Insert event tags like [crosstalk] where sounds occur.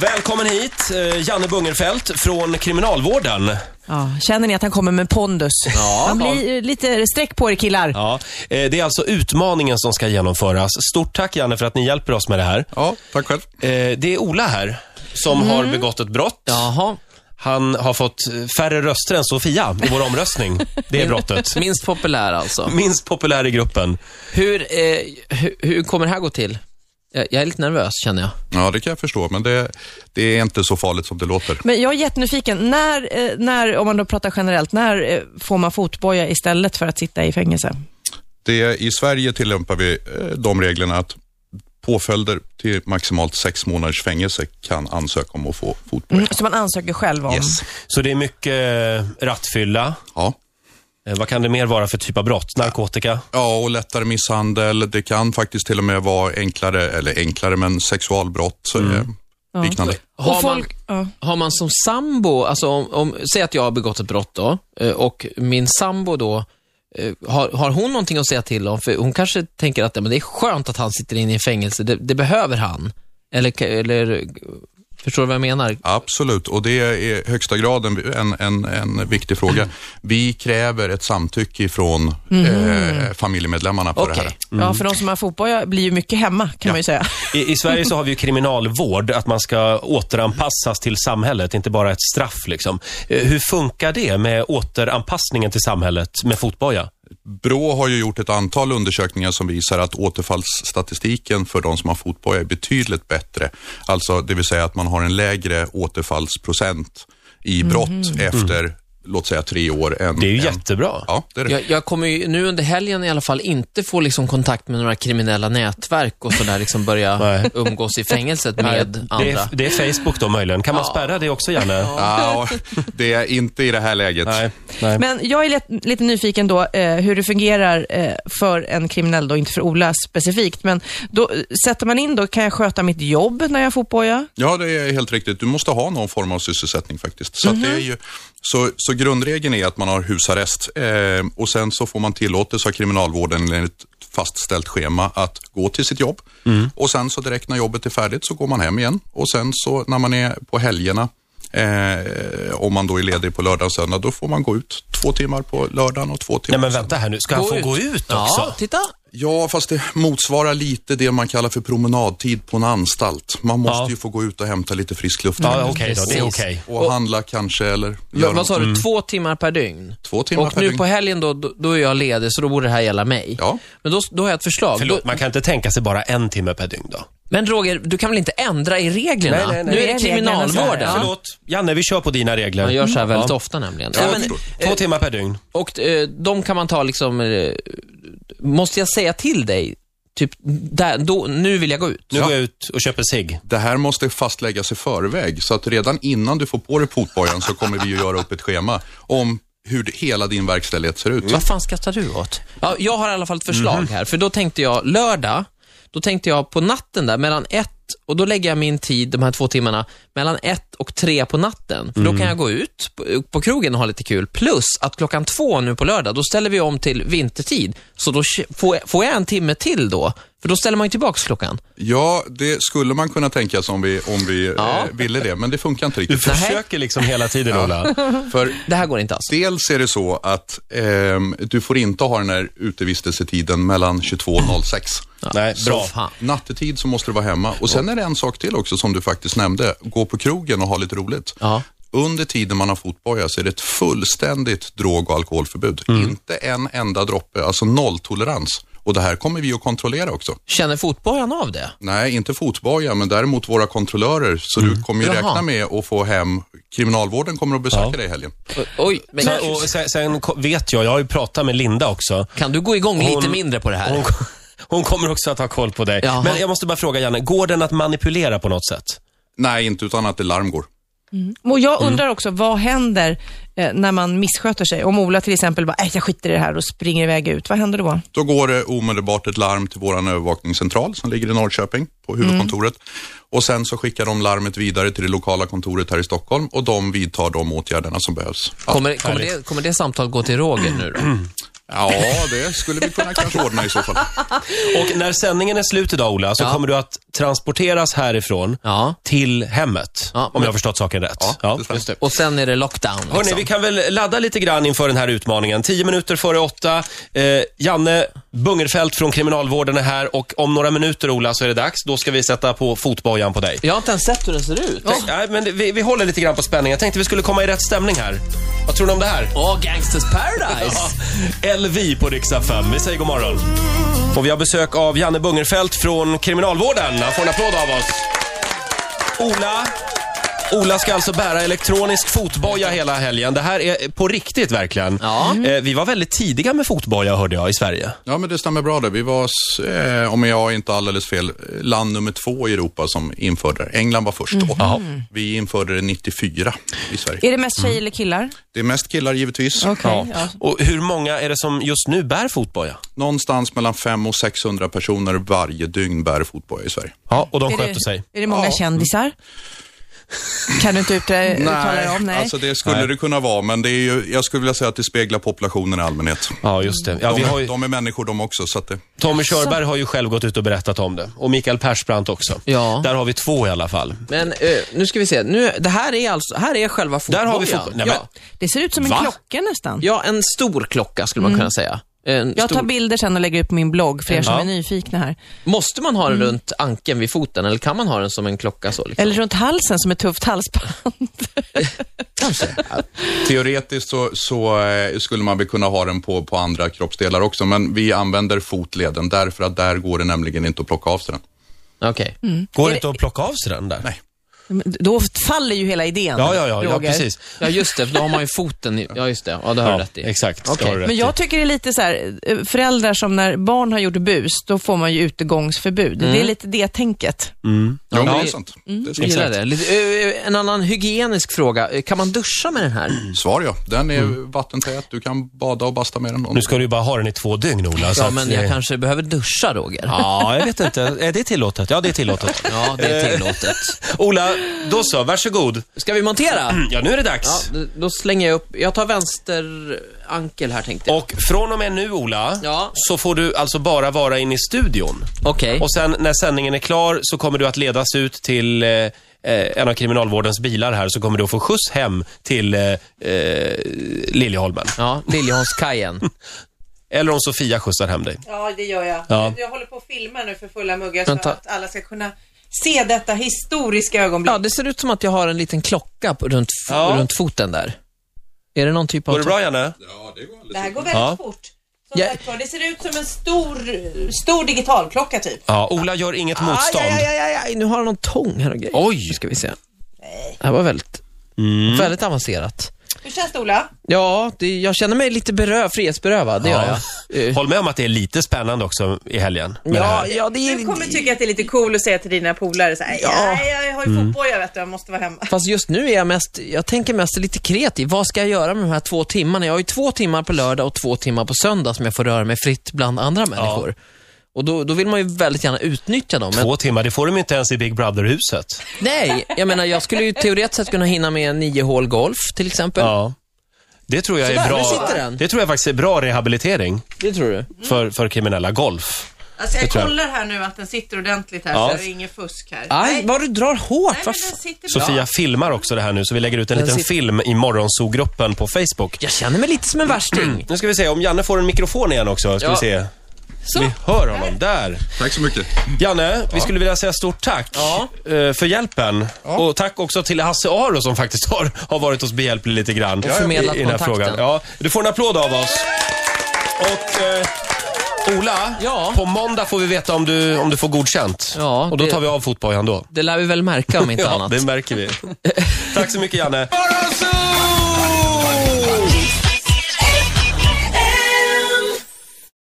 Välkommen hit, eh, Janne Bungerfeldt från Kriminalvården. Ja, känner ni att han kommer med pondus? Ja. Han blir eh, lite sträck på er killar. Ja, eh, det är alltså utmaningen som ska genomföras. Stort tack Janne för att ni hjälper oss med det här. Ja, tack själv. Eh, Det är Ola här som har begått ett brott. Jaha, Han har fått färre röster än Sofia i vår omröstning. Det är brottet. minst populär alltså. Minst populär i gruppen. Hur, eh, hur, hur kommer det här gå till? Jag, jag är lite nervös känner jag. Ja, det kan jag förstå, men det, det är inte så farligt som det låter. Men jag är jättenyfiken. När, eh, när, om man då pratar generellt, när eh, får man fotboja istället för att sitta i fängelse? Mm. Det, I Sverige tillämpar vi eh, de reglerna att påföljder till maximalt sex månaders fängelse kan ansöka om att få fotboja. Mm, så man ansöker själv om. Yes. Så det är mycket eh, rattfylla. Ja. Eh, Vad kan det mer vara för typ av brott? Narkotika? ja, och lättare misshandel. Det kan faktiskt till och med vara enklare, eller enklare, men sexualbrott. Mm. Liknande. Har Och folk, ja. man, har man som sambo, alltså om, om, säg att jag har begått ett brott då, eh, och min sambo då, eh, har, har hon någonting att säga till om? För hon kanske tänker att "Ja, men det är skönt att han sitter inne i fängelse, det, det behöver han. Eller, eller, förstår du vad jag menar? Absolut, och det är i högsta grad en, en, en, en viktig fråga. Vi kräver ett samtycke från eh, familjemedlemmarna på det Okej. här. Mm. ja, för de som har fotboja blir ju mycket hemma kan man ju säga. I, I Sverige så har vi ju kriminalvård, att man ska återanpassas till samhället, inte bara ett straff liksom. Eh, Hur funkar det med återanpassningen till samhället med fotboja? Brå har ju gjort ett antal undersökningar som visar att återfallsstatistiken för de som har fotboja är betydligt bättre. Alltså, det vill säga att man har en lägre återfallsprocent i brott efter, låt säga tre år. Än, Det är ju än- jättebra. Ja, det är det. Jag, jag kommer ju nu under helgen i alla fall inte få liksom kontakt med några kriminella nätverk och sådär, liksom [laughs] börja Nej. umgås i fängelset med Det andra. är, det är Facebook då möjligen. Kan man spärra det också, Janne? Ja, det är inte i det här läget. Nej, nej. Men jag är lite, lite nyfiken då eh, hur det fungerar eh, för en kriminell då, inte för Ola specifikt. Men då eh, sätter man in då, kan jag sköta mitt jobb när jag har fotboja? Ja, det är helt riktigt. Du måste ha någon form av sysselsättning faktiskt. Så, Mhm. att det är ju, så, så grundregeln är att man har husarrest eh, och sen så får man tillåtelse av kriminalvården enligt ett fastställt schema att gå till sitt jobb. Mm. Och sen så direkt när jobbet är färdigt så går man hem igen och sen så när man är på helgerna Eh, om man då är ledig på lördag och söndag, då får man gå ut två timmar på lördagen och två timmar Nej men på vänta här nu, ska han få gå ut Ja, också? titta. Ja, fast det motsvarar lite det man kallar för promenadtid på en anstalt. Man måste Ja. ju få gå då och hämta lite frisk luft. Ja, okej då, det är Precis. okej. Och, handla kanske eller göra Men, vad sa något. Mm. du, två timmar per dygn? Två timmar och per nu dygn. på helgen då, då, då är jag ledig, så då borde det här gälla mig. Ja. Men då, då har jag ett förslag. Förlåt, Då, man kan inte tänka sig bara en timme per dygn då? men Roger, du kan väl inte ändra i reglerna? Nej, nej, nej. Nu Det är är det reglerna som kriminalvården. är. Ja. Förlåt, Janne vi kör på dina regler. Mm. Man gör så här väldigt Ja. Eh, ofta nämligen. jag Ja, men, förstår. Två timmar per dygn. och eh, de kan man ta liksom, eh, måste jag säga till dig? Typ, där, då, nu vill jag gå ut. Nu Ja. går jag ut och köper cigg. Det här måste fastläggas i förväg, så att redan innan du får på dig fotbojan så kommer vi att göra upp ett schema om hur det, hela din verkställighet ser ut. Vad fan skrattar du åt? Mm. Mhm. Ja, jag har i alla fall ett förslag här, för då tänkte jag lördag, då tänkte jag på natten där, mellan ett, och då lägger jag min tid, de här två timmarna, mellan ett och tre på natten. För då kan jag gå ut på, på krogen och ha lite kul. Plus att klockan två nu på lördag, då ställer vi om till vintertid. Så då k- får jag, får jag en timme till då, för då ställer man ju tillbaks klockan. Ja, det skulle man kunna tänka sig om vi, om vi Ja. eh, ville det, men det funkar inte Du riktigt. försöker liksom hela tiden Ola. För Det här går inte alltså. alls. dels är det så att ehm, du får inte ha den här utevistelsetiden mellan 22.06. Nej, bra. Så fan. Nattetid så måste du vara hemma. Och sen är det en sak till också som du faktiskt nämnde. Gå på krogen och ha lite roligt. Ja. Under tiden man har fotboja så är det ett fullständigt drog och alkoholförbud. Mm. Inte en enda droppe, alltså nolltolerans. Och det här kommer vi att kontrollera också. Känner fotbojan av det? Nej, inte fotboja, men däremot våra kontrollörer. Så du kommer ju Mm. Jaha. räkna med att få hem, kriminalvården kommer att besöka dig i helgen. O- Oj, men Men, och sen, sen ko- vet jag, jag har ju pratat med Linda också. kan du gå igång lite Hon- mindre på det här? Hon, [laughs] hon kommer också att ha koll på dig. Jaha. Men jag måste bara fråga Janne, går den att manipulera på något sätt? Nej, inte utan att det larm går. Och jag Mm. undrar också, vad händer eh, när man missköter sig? Om Ola till exempel bara, äh, jag skiter i det här och springer iväg ut. Vad händer då? Då går det omedelbart ett larm till vår övervakningscentral som ligger i Norrköping på huvudkontoret. Och sen så skickar de larmet vidare till det lokala kontoret här i Stockholm och de vidtar de åtgärderna som behövs. Ja, Kommer, kommer, det, kommer det samtalet gå till Roger nu då? ja det skulle vi kunna kanske ordna i så fall. Och när sändningen är slut idag Ola, så kommer du att transporteras härifrån Ja. till hemmet. Ja, om men- jag har förstått saken rätt. Ja, det stämmer. Just det. Och sen är det lockdown. Liksom. Hörni, vi kan väl ladda lite grann inför den här utmaningen. Tio minuter före åtta. Eh, Janne Bungerfeldt från Kriminalvården är här och om några minuter, Ola, så är det dags. Då ska vi sätta på fotbojan på dig. Jag har inte ens sett hur den ser ut. Tänk, nej, men det- vi, vi håller lite grann på spänningen. Jag tänkte vi skulle komma i rätt stämning här. Vad tror ni om det här? Åh, Gangsters Paradise! Ja, LV på Riksdag 5. Vi säger god morgon. Och vi har besök av Janne Bungerfeldt från Kriminalvården. Han får en applåd av oss. Ola. Ola ska alltså bära elektronisk fotboja hela helgen. Det här är på riktigt verkligen. Ja. Eh, Vi var väldigt tidiga med fotboja hörde jag i Sverige. Ja, men det stämmer bra det. Vi var, s- eh, om jag inte har alldeles fel, land nummer två i Europa som införde det. England var först då. Vi införde det 94 i Sverige. Är det mest Mm. tjejer eller killar? Det är mest killar givetvis. Okej. ja. Och hur många är det som just nu bär fotboja? Någonstans mellan 500 och 600 personer varje dygn bär fotboja i Sverige. Ja, och de Är sköter det, sig. är det många kändisar? Kan du inte uttala uttala dig om? Nej. alltså det skulle Nej. det kunna vara, men det är ju, jag skulle vilja säga att det speglar populationen i allmänhet. Ja, just det. Ja, De, vi har ju, de är människor de också, så att det, Tommy Körberg har ju själv gått ut och berättat om det. Och Mikael Persbrandt också. Ja. Där har vi två i alla fall. Men eh, nu ska vi se. Nu, det här är alltså, här är själva Där fotbojan. har vi fotboll. Nej, Ja. Det ser ut som en Va? klocka nästan. ja, en stor klocka skulle Mm. man kunna säga. En Jag tar stor... bilder sen och lägger ut på min blogg för er som Ja. är nyfikna här. Måste man ha Mm. den runt ankeln vid foten eller kan man ha den som en klocka så? Liksom? Eller runt halsen som ett [laughs] tufft halsband. Teoretiskt så, så eh, skulle man väl kunna ha den på, på andra kroppsdelar också, men vi använder fotleden därför att där går det nämligen inte att plocka av sig den. Okej. Går det inte att plocka av sig den där? Nej. Då faller ju hela idén. Ja, ja, ja, ja Roger. precis. Ja, just det, för då [laughs] har man ju foten i... Ja, just det. Ja, det har du Ja, rätt i. exakt. Det Okej. har du rätt Men i. jag tycker det är lite så här, eh, föräldrar som när barn har gjort bus, då får man ju utegångsförbud. Mm. Det är lite det tänket. Ja, men det ja. är sant. Mm. Det är Jag sant. gillar det. Lite, ö, ö, en annan hygienisk fråga. Eh, Kan man duscha med den här? Svar ja. Den är vattentät, du kan bada och basta med den. om- Nu ska du ju bara ha den i två dygn, Ola. så Ja, att, men jag eh, kanske behöver duscha, Roger. Ja, jag vet inte. Är det tillåtet? Ja, det är tillåtet. Ja, det är [laughs] tillåtet. Ola, då så. Varsågod. Ska vi montera? Ja, nu är det Ja, dags. d- då slänger jag upp. Jag tar vänster ankel här tänkte jag. Och från och med nu, Ola, Ja. så får du alltså bara vara inne i studion. Okej. Och sen när sändningen är klar så kommer du att ledas ut till eh, eh, en av kriminalvårdens bilar här, så kommer du att få skjuts hem till eh, eh, Liljeholmen. Ja, Liljeholmskajen. Eller om Sofia skjutsar hem dig. Ja, det gör jag. Ja. Jag håller på att filma nu för fulla muggar så Vänta. att alla ska kunna se detta historiska ögonblick. [laughs] Ja, det ser ut som att jag har en liten klocka på, runt, f- Ja. runt foten där. Är det någon typ av... Går det bra, Janne? Det här går Ja. fort. Ja. sagt det ser ut som en stor, stor digitalklocka typ. Ja, Ola gör inget Aj, motstånd. aj, aj, aj, aj, nu har han någon tång här och grejer. Oj. Mm. Nu ska vi se. Det här var väldigt, väldigt avancerat. Hur känns det Ola? Ja, det, jag känner mig lite beröv, frihetsberövad, det gör jag. Ja. Håll med om att det är lite spännande också i helgen. med det Ja, här. ja, det Du kommer är... tycka att det är lite cool att säga till dina polare så här, Ja. "Nej, jag har ju Mm. fotboja vet du, jag måste vara hemma. Fast just nu är jag mest, jag tänker mest lite kreativ. Vad ska jag göra med de här två timmarna? Jag har ju två timmar på lördag och två timmar på söndag som jag får röra mig fritt bland andra människor. Och då, då vill man ju väldigt gärna utnyttja dem. Men, Två timmar, det får de ju inte ens i Big Brother-huset. nej, jag menar jag skulle ju teoretiskt sett kunna hinna med nio hål golf till exempel. Ja. Det tror jag Sådär, är nu bra. sitter den. Det tror jag faktiskt är bra rehabilitering Det tror du? för, för kriminella. Golf. Alltså jag Det tror jag. kollar här nu att den sitter ordentligt här Ja. så det är inget fusk här. Aj, vad du drar hårt. Nej men den vad f- sitter bra. Sofia filmar också det här nu, så vi lägger ut en Mm. Den liten sit- film i morgonzoo-gruppen på Facebook. jag känner mig lite som en värsting. Nu ska vi se om Janne får en mikrofon igen också. Ska Ja. vi se. Så. Vi hör honom. Där. Tack så mycket. Janne, vi skulle vilja säga stort tack Ja. eh, för hjälpen. Och tack också till Hasse Aro som faktiskt har, har varit oss behjälplig lite grann. Och förmedlat i, i den här kontakten. frågan. Ja, du får en applåd av oss. Och eh, Ola, Ja. på måndag får vi veta om du, om du får godkänt. Ja, och då det- tar vi av fotbojan då. Det lär vi väl märka om inte Ja, [laughs] annat. det märker vi. tack så mycket Janne. Morgonzoo!